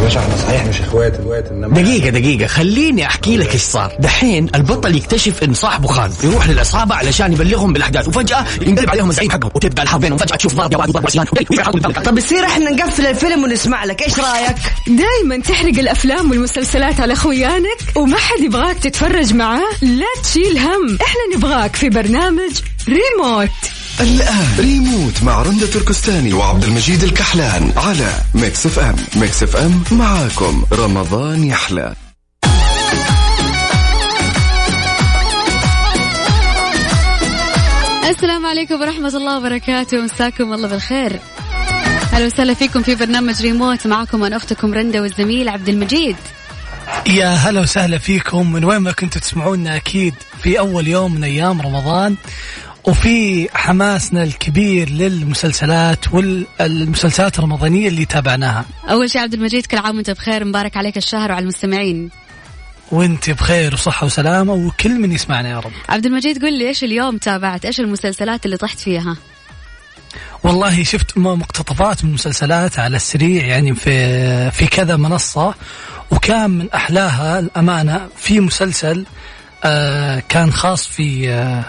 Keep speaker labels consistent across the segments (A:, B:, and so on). A: باشا احنا صحيح مش اخوات الوقت انما
B: دقيقة دقيقة خليني احكي لك ايش صار، دحين البطل يكتشف ان صاحبه خان، يروح للعصابة علشان يبلغهم بالاحداث وفجأة ينقلب عليهم الزعيم حقهم وتبدا الحرب بينهم فجأة تشوف ضرب يا واد وضرب عصيان
C: طب يصير احنا نقفل الفيلم ونسمع لك ايش رايك
D: دايما تحرق الافلام والمسلسلات على خويانك وما حد يبغاك تتفرج معاه لا تشيل هم احنا نبغاك في برنامج ريموت
E: الآن ريموت مع رندة تركستاني وعبد المجيد الكحلان على ميكس اف ام ميكس اف ام معاكم رمضان يحلى
F: السلام عليكم ورحمة الله وبركاته مساكم الله بالخير أهلا وسهلا فيكم في برنامج ريموت معكم أنا أختكم رندة والزميل عبد المجيد
G: يا هلا وسهلا فيكم من وين ما كنتوا تسمعونا اكيد في اول يوم من ايام رمضان وفي حماسنا الكبير للمسلسلات والمسلسلات الرمضانيه اللي تابعناها
F: أول شيء عبد المجيد كل عام وأنت بخير مبارك عليك الشهر وعلى المستمعين
G: وانت بخير وصحه وسلامه وكل من يسمعنا يا رب
F: عبد المجيد قل لي إيش اليوم تابعت إيش المسلسلات اللي طحت فيها
G: والله شفت م- مقتطفات من مسلسلات على السريع يعني في في كذا منصه وكان من احلاها الامانه في مسلسل آه كان خاص في آه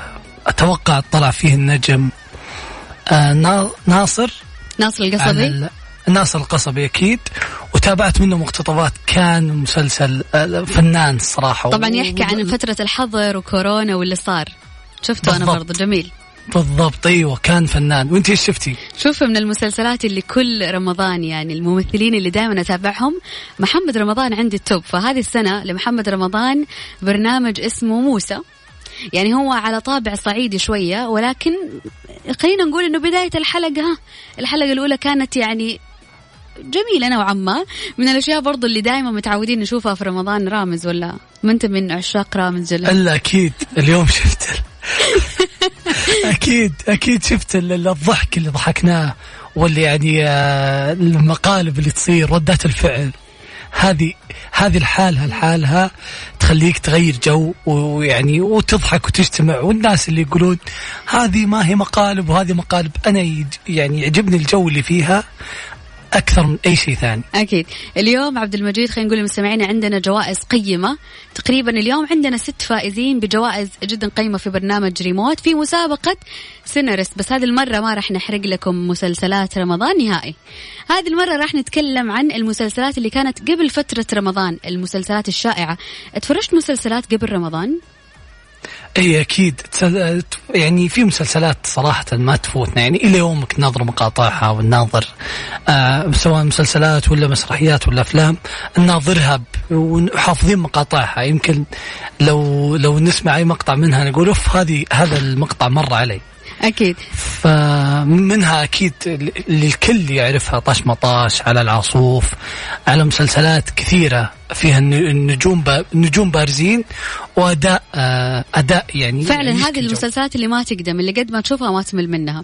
G: اتوقع طلع فيه النجم آه نا- ناصر
F: ناصر
G: عن
F: القصبي
G: ال- ناصر القصبي اكيد وتابعت منه مقتطفات كان مسلسل آه، فنان الصراحه
F: طبعا يحكي عن فترة الحظر وكورونا واللي صار شفته أنا
G: بالضبط.
F: برضه جميل
G: بالضبط ايوه كان فنان وانت ايش شفتي؟
F: شوف من المسلسلات اللي كل رمضان يعني الممثلين اللي دائما اتابعهم محمد رمضان عندي التوب فهذه السنه لمحمد رمضان برنامج اسمه موسى يعني هو على طابع صعيدي شويه ولكن خلينا نقول انه بدايه الحلقه ها، الحلقه الاولى كانت يعني جميلة نوعا ما من الأشياء برضو اللي دائما متعودين نشوفها في رمضان رامز ولا ما أنت من عشاق رامز جل
G: الا اكيد اليوم شفت ال- اكيد اكيد شفت ال- ال- الضحك اللي ضحكناه واللي يعني آه، المقالب اللي تصير ردات الفعل هذه هذه الحالها لحالها تخليك تغير جو ويعني وتضحك وتجتمع والناس اللي يقولون هذه ما هي مقالب وهذه مقالب انا يج- يعني يعجبني الجو اللي فيها اكثر من اي شيء ثاني
F: أكيد اليوم عبد المجيد خلينا نقول لمستمعينا عندنا جوائز قيمة تقريبا اليوم عندنا ست فائزين بجوائز جدا قيمة في برنامج ريموت في مسابقة سينرس بس هذه المرة ما راح نحرق لكم مسلسلات رمضان نهائي هذه المرة راح نتكلم عن المسلسلات اللي كانت قبل فترة رمضان المسلسلات الشائعة اتفرجت مسلسلات قبل رمضان
G: اي اكيد إيه، تسل- يعني في مسلسلات صراحه ما تفوتنا يعني الى يومك ناظر مقاطعها والناظر آه سواء مسلسلات ولا مسرحيات ولا افلام ناظرها ب- وحافظين مقاطعها يمكن لو لو نسمع اي مقطع منها نقول اوف هذه هذا المقطع مر علي
F: أكيد
G: فمنها اكيد اللي الكل يعرفها طش مطاش على العاصوف على مسلسلات كثيره فيها النجوم با- نجوم بارزين واداء آه، اداء يعني
F: فعلا
G: يشكي
F: هذه
G: الجو.
F: المسلسلات اللي ما تقدم اللي قد ما تشوفها ما تمل منها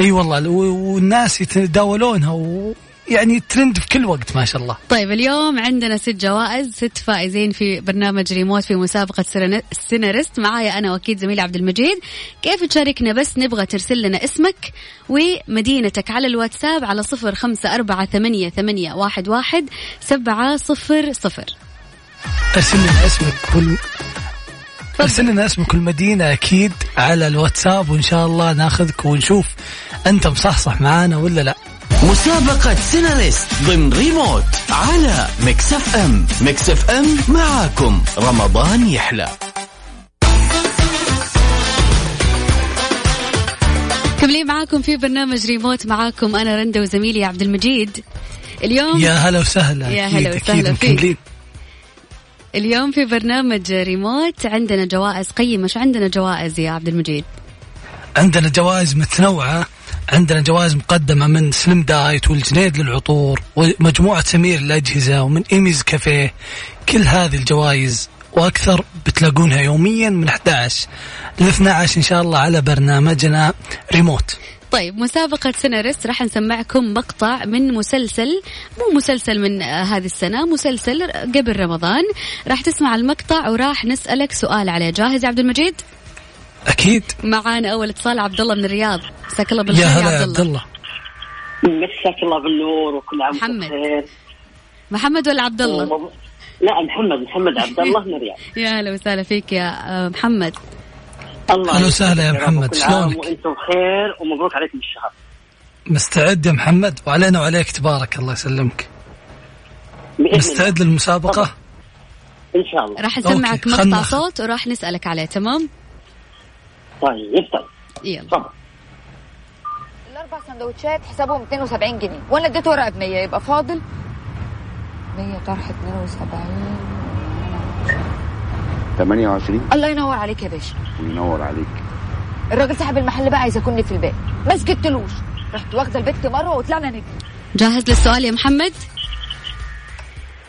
G: اي والله و- والناس يتداولونها ويعني ترند في كل وقت ما شاء الله
F: طيب اليوم عندنا ست جوائز ست فائزين في برنامج ريموت في مسابقة سيرن- سيناريست معايا أنا وأكيد زميلي عبد المجيد كيف تشاركنا بس نبغى ترسل لنا اسمك ومدينتك على الواتساب على صفر خمسة أربعة ثمانية, ثمانية واحد, واحد سبعة صفر صفر
G: ارسل لنا اسمك كل ارسل لنا اسمك والمدينه اكيد على الواتساب وان شاء الله ناخذك ونشوف انت مصحصح معانا ولا لا
B: مسابقة سيناريست ضمن ريموت
E: على ميكس اف ام ميكس اف ام معاكم رمضان يحلى
F: كملين معاكم في برنامج ريموت معاكم أنا رندا وزميلي عبد المجيد اليوم
G: يا هلا وسهلا
F: يا
G: أكيد،
F: هلا
G: أكيد
F: وسهلا فيك.
G: مكملين.
F: اليوم في برنامج ريموت عندنا جوائز قيمة شو عندنا جوائز يا عبد المجيد
G: عندنا جوائز متنوعة عندنا جوائز مقدمة من سلم دايت والجنيد للعطور ومجموعة سمير للأجهزة ومن إيميز كافيه كل هذه الجوائز وأكثر بتلاقونها يوميا من 11 ل 12 إن شاء الله على برنامجنا ريموت
F: طيب مسابقة سيناريست راح نسمعكم مقطع من مسلسل مو مسلسل من آه، هذه السنة مسلسل قبل رمضان راح تسمع المقطع وراح نسألك سؤال عليه جاهز يا عبد المجيد
G: أكيد
F: معانا أول اتصال عبد الله من الرياض مساك الله بالخير
G: يا
F: يا
G: هلا يا
F: عبد
G: عبد
F: الله
G: الله
H: مساك الله بالنور وكل عام وأنت
F: محمد.
H: بخير
F: محمد ولا عبد الله؟
H: وم- لا محمد محمد عبد الله من الرياض
F: يا هلا وسهلا فيك يا آه، محمد
H: الله
G: أهلا وسهلا يا
H: يسعدك رب،
G: محمد،
H: وكل عام
G: شلونك؟
H: وانتم بخير ومبروك عليكم الشهر
G: مستعد يا محمد وعلينا وعليك تبارك الله يسلمك
H: باذن الله
G: مستعد للمسابقة
H: ان شاء الله
F: راح نسمعك
G: أوكي، خلنا
F: مقطع
G: ناخذ.
F: صوت وراح نسألك عليه تمام؟
H: طيب طيب
F: يلا
H: تفضل
I: الاربع سندوتشات حسابهم 72 جنيه وانا اديت ورقه ب 100 يبقى فاضل 100 طرح 72
J: 28
I: الله ينور عليك يا باشا
J: ينور عليك
I: الراجل صاحب المحل بقى عايز يكوني في الباقي ما سكتلوش رحت واخده البت مره وطلعنا نجري
F: جاهز للسؤال يا محمد؟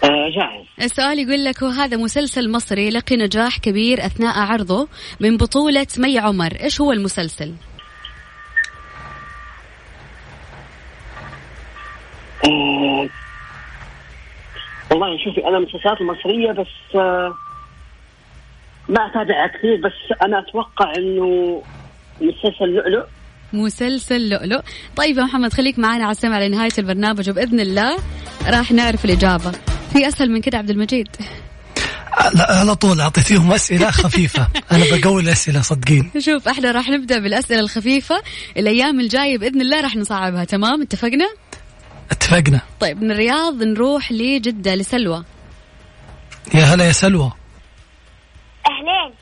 H: آه جاهز
F: السؤال يقول لك وهذا مسلسل مصري لقي نجاح كبير أثناء عرضه من بطولة مي عمر إيش هو المسلسل؟
H: آه والله شوفي انا المسلسلات المصريه بس آه ما اتابع كثير بس انا اتوقع انه مسلسل لؤلؤ
F: مسلسل لؤلؤ طيب يا محمد خليك معنا على السمع لنهاية البرنامج وبإذن الله راح نعرف الإجابة في أسهل من كده عبد المجيد
G: على على طول أعطيتيهم أسئلة خفيفة أنا بقول أسئلة صدقين
F: شوف احنا راح نبدأ بالأسئلة الخفيفة الأيام الجاية بإذن الله راح نصعبها تمام اتفقنا؟
G: اتفقنا
F: طيب من الرياض نروح لجدة لسلوى
G: يا هلا يا سلوى
K: أهلين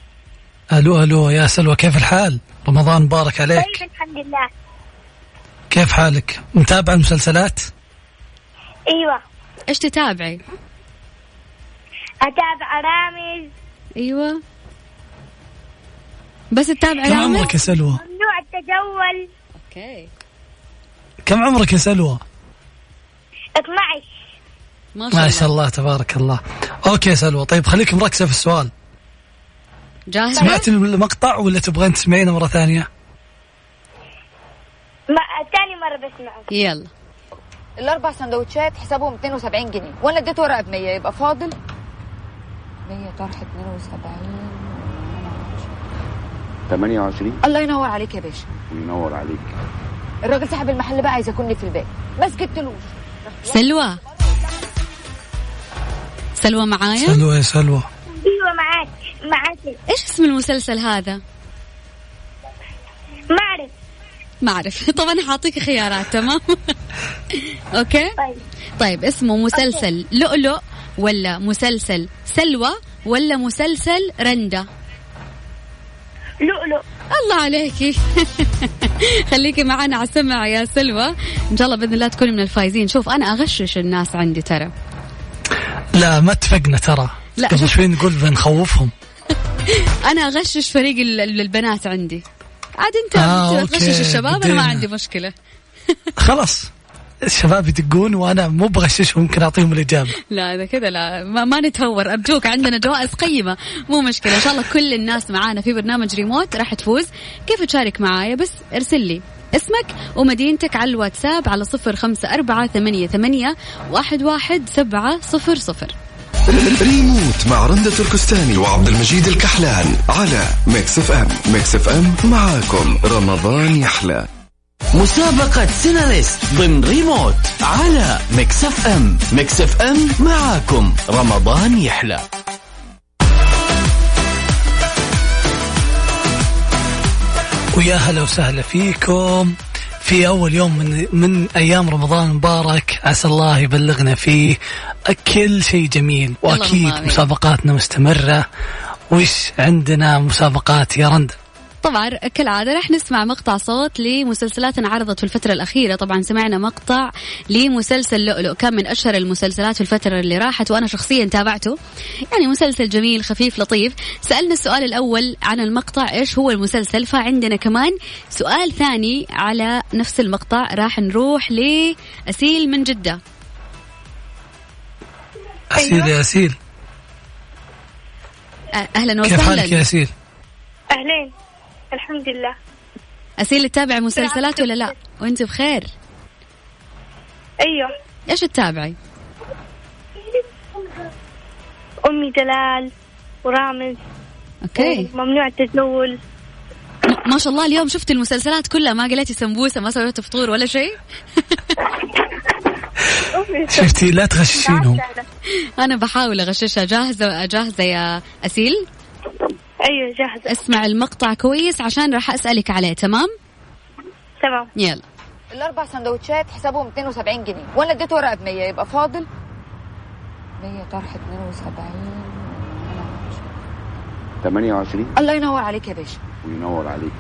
G: ألو ألو يا سلوى كيف الحال رمضان مبارك
K: طيب
G: عليك
K: الحمد لله
G: كيف حالك متابع المسلسلات
K: أيوة
F: ايش تتابعي؟
K: أتابع برامج
F: ايوه بس تتابعي
G: كم
F: رامي؟
G: عمرك يا سلوى
K: ممنوع التجول
F: اوكي
G: كم عمرك يا سلوى
K: 12
F: ما
G: ما شاء الله تبارك الله أوكي يا سلوى طيب خليك مركزة في السؤال
F: جاهزة؟
G: سمعت المقطع ولا تبغين تسمعينه مرة ثانية
K: ما تاني مرة بسمعه
F: يلا
I: الاربع سندوتشات حسابهم 72 جنيه وانا اديت ورقه ب 100 يبقى فاضل 100 طرح 72
J: 28
I: الله ينور عليك يا باشا
J: ينور عليك
I: الراجل صاحب المحل بقى عايز يكوني في الباقي ما سكتلوش
F: سلوى سلوى معايا؟
G: سلوى يا سلوى
K: أيوة معاك معاك
F: ايش اسم المسلسل هذا؟
K: ما أعرف
F: ما اعرف طبعا حاعطيك خيارات تمام اوكي
K: طيب
F: طيب اسمه مسلسل لؤلؤ ولا مسلسل سلوى ولا مسلسل رندا
K: لؤلؤ
F: الله عليكي خليكي معنا على السمع يا سلوى ان شاء الله باذن الله تكوني من الفايزين شوف انا اغشش الناس عندي ترى
G: لا ما اتفقنا ترى
F: لا،
G: قبل
F: شوف.
G: شوي نقول بنخوفهم
F: انا اغشش فريق ال- ال- البنات عندي عاد انت
G: آه،
F: آه
G: أوكي.
F: تغشش الشباب انا ما
G: بدينا.
F: عندي مشكله
G: خلاص الشباب يدقون وانا مو بغششهم ممكن اعطيهم الاجابه
F: لا اذا كذا لا ما, ما نتهور ارجوك عندنا جوائز قيمه مو مشكله ان شاء الله كل الناس معانا في برنامج ريموت راح تفوز كيف تشارك معايا بس ارسل لي اسمك ومدينتك على الواتساب على صفر خمسة أربعة ثمانية, ثمانية واحد, واحد سبعة صفر صفر
E: ريموت مع رندة تركستاني وعبد المجيد الكحلان على ميكس اف ام ميكس اف ام معاكم رمضان يحلى
B: مسابقة سيناليست ضمن ريموت على ميكس اف ام ميكس اف ام معاكم رمضان يحلى
G: ويا هلا وسهلا فيكم في اول يوم من من ايام رمضان مبارك عسى الله يبلغنا فيه كل شيء جميل واكيد
F: اللهم آمين.
G: مسابقاتنا مستمره وش عندنا مسابقات يا رند
F: طبعا كالعادة راح نسمع مقطع صوت لمسلسلات انعرضت في الفترة الأخيرة طبعا سمعنا مقطع لمسلسل لؤلؤ كان من أشهر المسلسلات في الفترة اللي راحت وأنا شخصيا تابعته يعني مسلسل جميل خفيف لطيف سألنا السؤال الأول عن المقطع إيش هو المسلسل فعندنا كمان سؤال ثاني على نفس المقطع راح نروح لأسيل من جدة
G: اسيل يا اسيل
F: أ- أهلا
G: كيف حالك يا
F: وسهلا
G: اسيل
K: أهلين الحمد لله
F: أسيل تتابع مسلسلات ولا لا وأنت بخير
K: أيوة
F: إيش تتابعي
K: أمي دلال ورامز
F: أوكي
K: ممنوع التجول
F: ما شاء الله اليوم شفت المسلسلات كلها ما قلتي سمبوسه ما سويت فطور ولا شيء
B: شفتي لا تغششينهم
F: انا بحاول اغششها جاهزه جاهزه يا اسيل
K: ايوه جاهزة
F: اسمع المقطع كويس عشان راح اسالك عليه تمام
K: تمام
F: يلا
I: الاربع سندوتشات حسابهم 72 جنيه وانا اديت ورقه ب 100 يبقى فاضل 100 طرح 72
L: 28
I: الله ينور عليك يا باشا
L: وينور عليك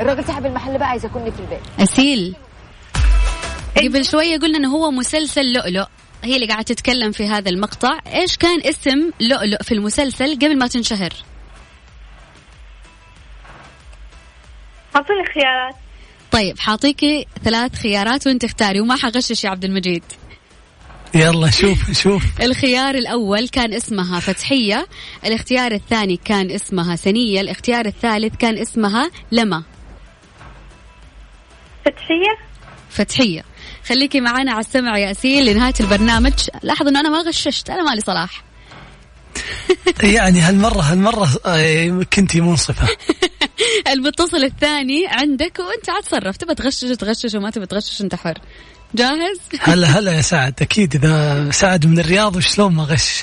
I: الراجل صاحب المحل بقى عايز اكون في البيت
F: اسيل قبل شويه قلنا انه هو مسلسل لؤلؤ هي اللي قاعده تتكلم في هذا المقطع ايش كان اسم لؤلؤ في المسلسل قبل ما تنشهر
K: أعطيني خيارات
F: طيب حاعطيكي ثلاث خيارات وانت اختاري وما حغشش يا عبد المجيد
B: يلا شوف شوف
F: الخيار الأول كان اسمها فتحية الاختيار الثاني كان اسمها سنية الاختيار الثالث كان اسمها لما
K: فتحية
F: فتحية خليكي معنا على السمع يا أسيل لنهاية البرنامج لاحظ أنه أنا ما غششت أنا مالي صلاح
B: يعني هالمرة هالمرة آه، كنتي منصفة
F: المتصل الثاني عندك وانت عاد تصرف تبى تغشش تغشش وما تبى تغشش انت حر جاهز
B: هلا هلا يا سعد أكيد إذا سعد من الرياض وشلون ما غش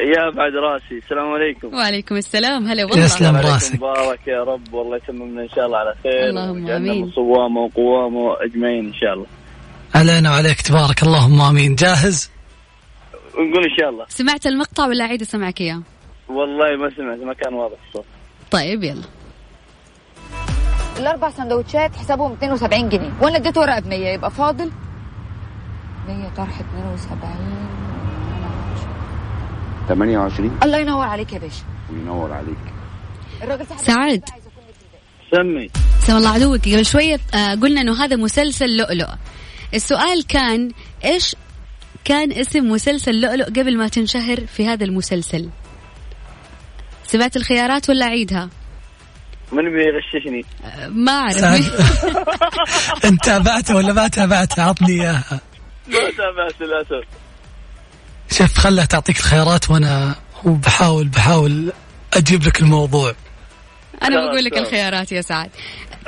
G: يا بعد راسي السلام عليكم
F: وعليكم السلام هلا والله
B: يسلم
G: عليكم
B: راسك
G: مبارك يا رب والله يتممنا ان شاء الله على خير
F: اللهم
G: ويجعلنا
F: آمين.
G: من صوامه وقوامه اجمعين ان شاء الله
B: علينا وعليك تبارك اللهم آمين جاهز
G: ونقول ان شاء الله
F: سمعت المقطع ولا عيد اسمعك اياه
G: والله ما سمعت ما كان واضح الصوت
F: طيب يلا
I: الاربع سندوتشات حسابهم 72 جنيه وانا اديت ورقه ب 100 يبقى فاضل 100 طرح 72
L: 28
I: الله ينور عليك يا باشا
L: وينور عليك
I: الراجل صاحب
F: سعد
G: سمي
F: سم الله عدوك قبل شوية آه، قلنا انه هذا مسلسل لؤلؤ السؤال كان ايش كان اسم مسلسل لؤلؤ قبل ما تنشهر في هذا المسلسل سمعت الخيارات ولا عيدها
G: من بيغششني
F: آه، ما
B: سعد
F: اعرف
B: أنت تابعته ولا ما تابعته عطني إياها
G: ما تابعت للاسف
B: شوف خلها تعطيك الخيارات وأنا وبحاول بحاول أجيب لك الموضوع
F: انا بقول لك الخيارات يا سعد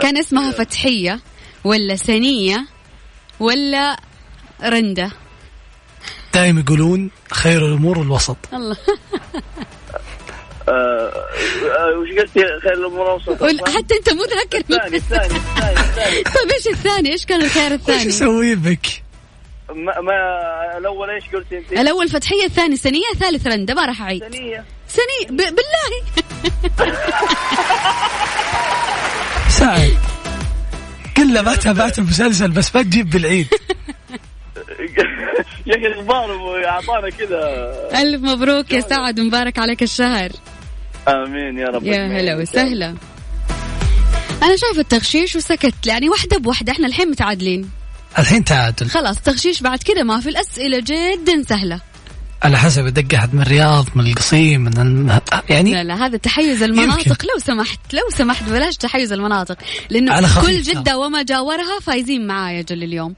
F: كان اسمها فتحية ولا سنية ولا رندة
B: دائما يقولون خير الأمور الوسط
F: الله
G: آه، آه، وش قلت يا خير الامور اوسط
F: ولا- حتى انت مو ذاكر
G: الثاني الثاني الثاني الثاني
F: طيب ايش الثاني ايش كان الخيار
B: وش
F: الثاني
B: أسوي بك
G: ما, ما الاول ايش قلت انت؟
F: الاول فتحيه الثاني سنيه الثالث رنده ما راح اعيد
G: ثانية
F: سني ب... بالله
B: سعد قلنا ما تابعت المسلسل بس ما تجيب بالعيد
G: يا اخي اخبار اعطانا كذا
F: الف مبروك يا سعد مبارك عليك الشهر
G: امين يا رب
F: يا هلا وسهلا انا شايفه التغشيش وسكت يعني واحده بواحده احنا الحين متعادلين
B: الحين تعادل
F: خلاص تغشيش بعد كذا ما في الاسئله جدا سهله
B: على حسب دق أحد من الرياض من القصيم من الم...
F: لا
B: يعني
F: لا هذا تحيز المناطق لو سمحت لو سمحت بلاش تحيز المناطق
B: على
F: لانه
B: خفيف نعم.
F: كل
B: ترى.
F: جده وما جاورها فايزين معايا جل اليوم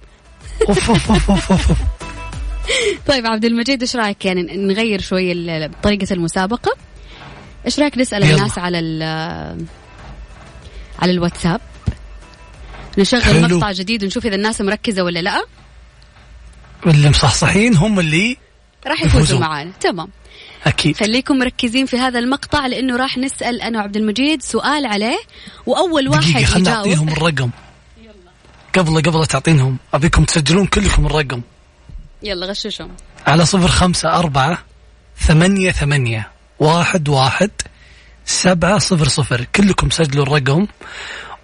B: أوف أوف أوف أوف أوف.
F: طيب عبد المجيد ايش رايك يعني نغير شوي ال- طريقه المسابقه ايش رايك نسال
B: يلا.
F: الناس على ال على الواتساب نشغل
B: حلو.
F: مقطع جديد ونشوف اذا الناس مركزه ولا لا
B: اللي مصحصحين هم اللي
F: راح
B: يفوزون.
F: يفوزوا معانا تمام
B: أكيد
F: خليكم مركزين في هذا المقطع لانه راح نسال انا وعبد المجيد سؤال عليه واول واحد
B: دقيقة خلنا
F: يجاوب
B: أعطيهم الرقم قبل قبل تعطينهم أبيكم تسجلون كلكم الرقم
F: يلا غششهم
B: على صفر خمسة أربعة ثمانية ثمانية واحد واحد سبعة صفر صفر كلكم سجلوا الرقم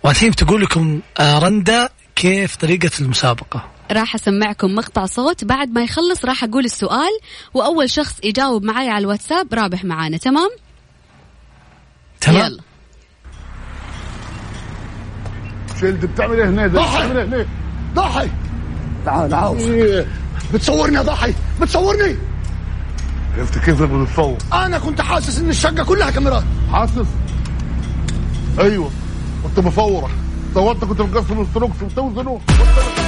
B: والحين بتقول لكم آه، رندا كيف طريقة المسابقة
F: راح اسمعكم مقطع صوت بعد ما يخلص راح اقول السؤال واول شخص يجاوب معايا على الواتساب رابح معانا تمام
B: تمام
F: يلا
E: شيلد بتعمل ايه هنا ضحي بتعمل ايه هنا ضحي إيه. تعال تعال بتصورني يا ضحي بتصورني
M: عرفت كيف لما بتصور
E: انا كنت حاسس ان الشقه كلها كاميرات حاسس ايوه كنت بصورك صورت كنت مقسم الستروكس وتوزنه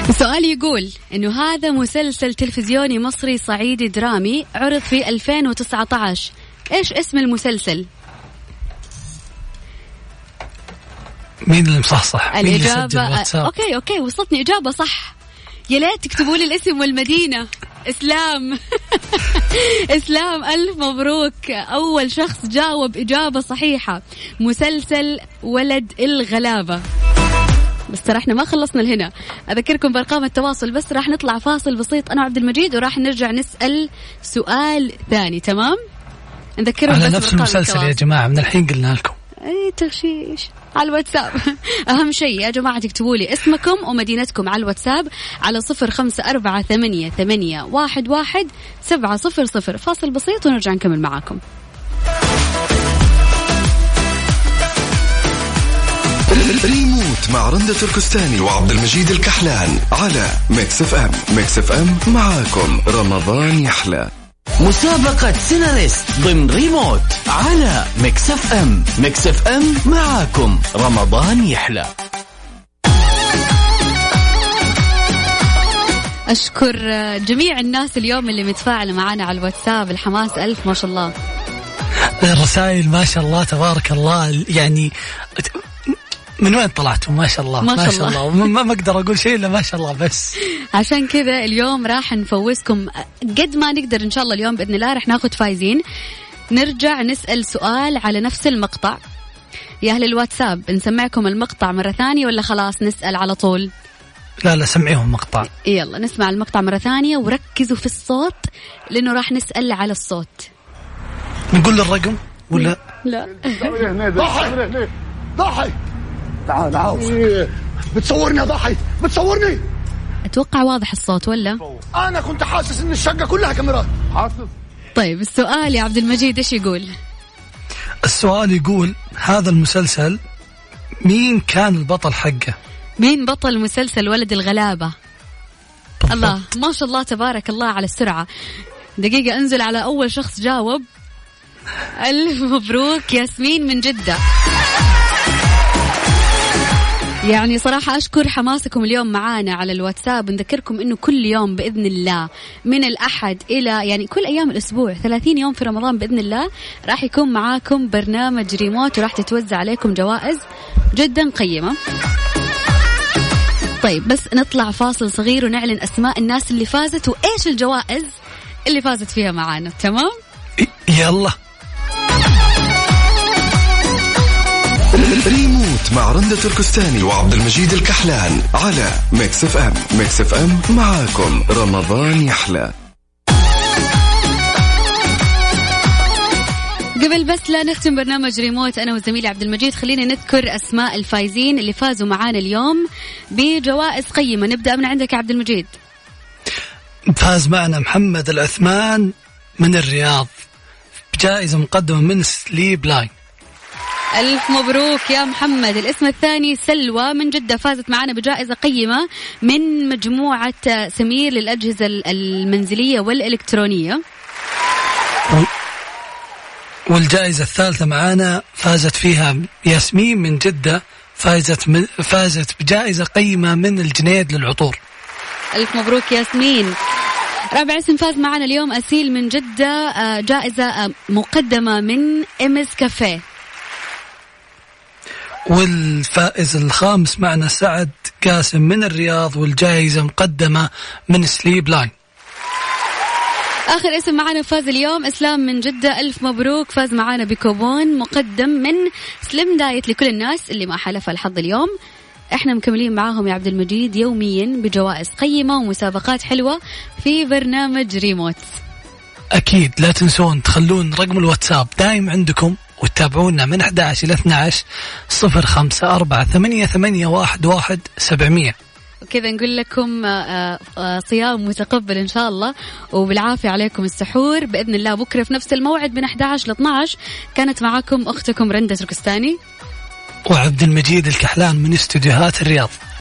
F: السؤال يقول انه هذا مسلسل تلفزيوني مصري صعيدي درامي عرض في 2019 ايش اسم المسلسل
B: مين اللي مصحصح مين اللي سجل
F: الاجابه
B: الواتساب
F: اوكي اوكي وصلتني اجابه صح يا ليت تكتبوا لي الاسم والمدينة اسلام اسلام الف مبروك اول شخص جاوب اجابه صحيحه مسلسل ولد الغلابه بس ترى احنا ما خلصنا لهنا اذكركم بارقام التواصل بس راح نطلع فاصل بسيط انا وعبد المجيد وراح نرجع نسال سؤال ثاني تمام نذكرهم
G: على
F: بس
G: نفس
F: بأرقام
G: المسلسل يا
F: التواصل.
G: جماعة من الحين قلنا لكم
F: اي تغشيش إيه، على الواتساب اهم شيء يا جماعه تكتبوا لي اسمكم ومدينتكم على الواتساب على صفر خمسه اربعه ثمانيه ثمانيه واحد واحد سبعه صفر صفر فاصل بسيط ونرجع نكمل معاكم
E: ريموت مع رندة تركستاني وعبد المجيد الكحلان على ميكس اف ام ميكس اف ام معاكم رمضان يحلى
B: مسابقة سيناليست ضمن ريموت على ميكس اف ام ميكس اف ام معاكم رمضان يحلى
F: اشكر جميع الناس اليوم اللي متفاعله معنا على الواتساب الحماس الف ما شاء الله
G: الرسائل ما شاء الله تبارك الله يعني من وين طلعتم ما شاء الله
F: ما شاء الله.
G: الله ما ما اقدر اقول شيء الا ما شاء الله بس
F: عشان كذا اليوم راح نفوزكم قد ما نقدر ان شاء الله اليوم باذن الله راح ناخذ فايزين نرجع نسال سؤال على نفس المقطع يا اهل الواتساب نسمعكم المقطع مره ثانيه ولا خلاص نسال على طول
G: لا لا سمعيهم مقطع
F: يلا نسمع المقطع مره ثانيه وركزوا في الصوت لانه راح نسال على الصوت
G: نقول الرقم ولا
F: لا
N: ضحي ضحي تعال تعال بتصورني يا ضحي بتصورني
F: اتوقع واضح الصوت ولا
N: انا كنت حاسس ان الشقه كلها كاميرات حاسس
F: طيب السؤال يا عبد المجيد ايش يقول
G: السؤال يقول هذا المسلسل مين كان البطل حقه
F: مين بطل مسلسل ولد الغلابة؟ الله ما شاء الله تبارك الله على السرعة دقيقة انزل على أول شخص جاوب ألف مبروك ياسمين من جدة يعني صراحة أشكر حماسكم اليوم معانا على الواتساب نذكركم أنه كل يوم بإذن الله من الأحد إلى يعني كل أيام الأسبوع 30 يوم في رمضان بإذن الله راح يكون معاكم برنامج ريموت وراح تتوزع عليكم جوائز جدا قيمة طيب بس نطلع فاصل صغير ونعلن اسماء الناس اللي فازت وايش الجوائز اللي فازت فيها معانا تمام
G: يلا
E: ريموت مع رندة تركستاني وعبد المجيد الكحلان على ميكس اف ام ميكس اف ام معاكم رمضان يحلى
F: قبل بس لا نختم برنامج ريموت انا وزميلي عبد المجيد خلينا نذكر اسماء الفايزين اللي فازوا معانا اليوم بجوائز قيمه نبدا من عندك يا عبد المجيد
G: فاز معنا محمد العثمان من الرياض بجائزة مقدمة من سليب لاين
F: الف مبروك يا محمد الاسم الثاني سلوى من جده فازت معانا بجائزه قيمه من مجموعه سمير للاجهزه المنزليه والالكترونيه
G: والجائزة الثالثة معانا فازت فيها ياسمين من جدة فازت من فازت بجائزة قيمة من الجنيد للعطور
F: ألف مبروك ياسمين رابع اسم فاز معنا اليوم أسيل من جدة آه، جائزة آه، مقدمة من إمس كافيه
G: والفائز الخامس معنا سعد قاسم من الرياض والجائزة مقدمة من سليب لاين
F: آخر اسم معنا فاز اليوم إسلام من جدة ألف مبروك فاز معنا بكوبون مقدم من سليم دايت لكل الناس اللي ما حلف الحظ اليوم احنا مكملين معاهم يا عبد المجيد يوميا بجوائز قيمة ومسابقات حلوة في برنامج ريموت
G: أكيد لا تنسون تخلون رقم الواتساب دايم عندكم وتتابعونا من 11 إلى 12 05 4 8 8 1 1 700
F: وكذا نقول لكم آه، آه، صيام متقبل ان شاء الله وبالعافيه عليكم السحور باذن الله بكره في نفس الموعد من 11 ل 12 كانت معاكم اختكم رنده تركستاني
G: وعبد المجيد الكحلان من استديوهات الرياض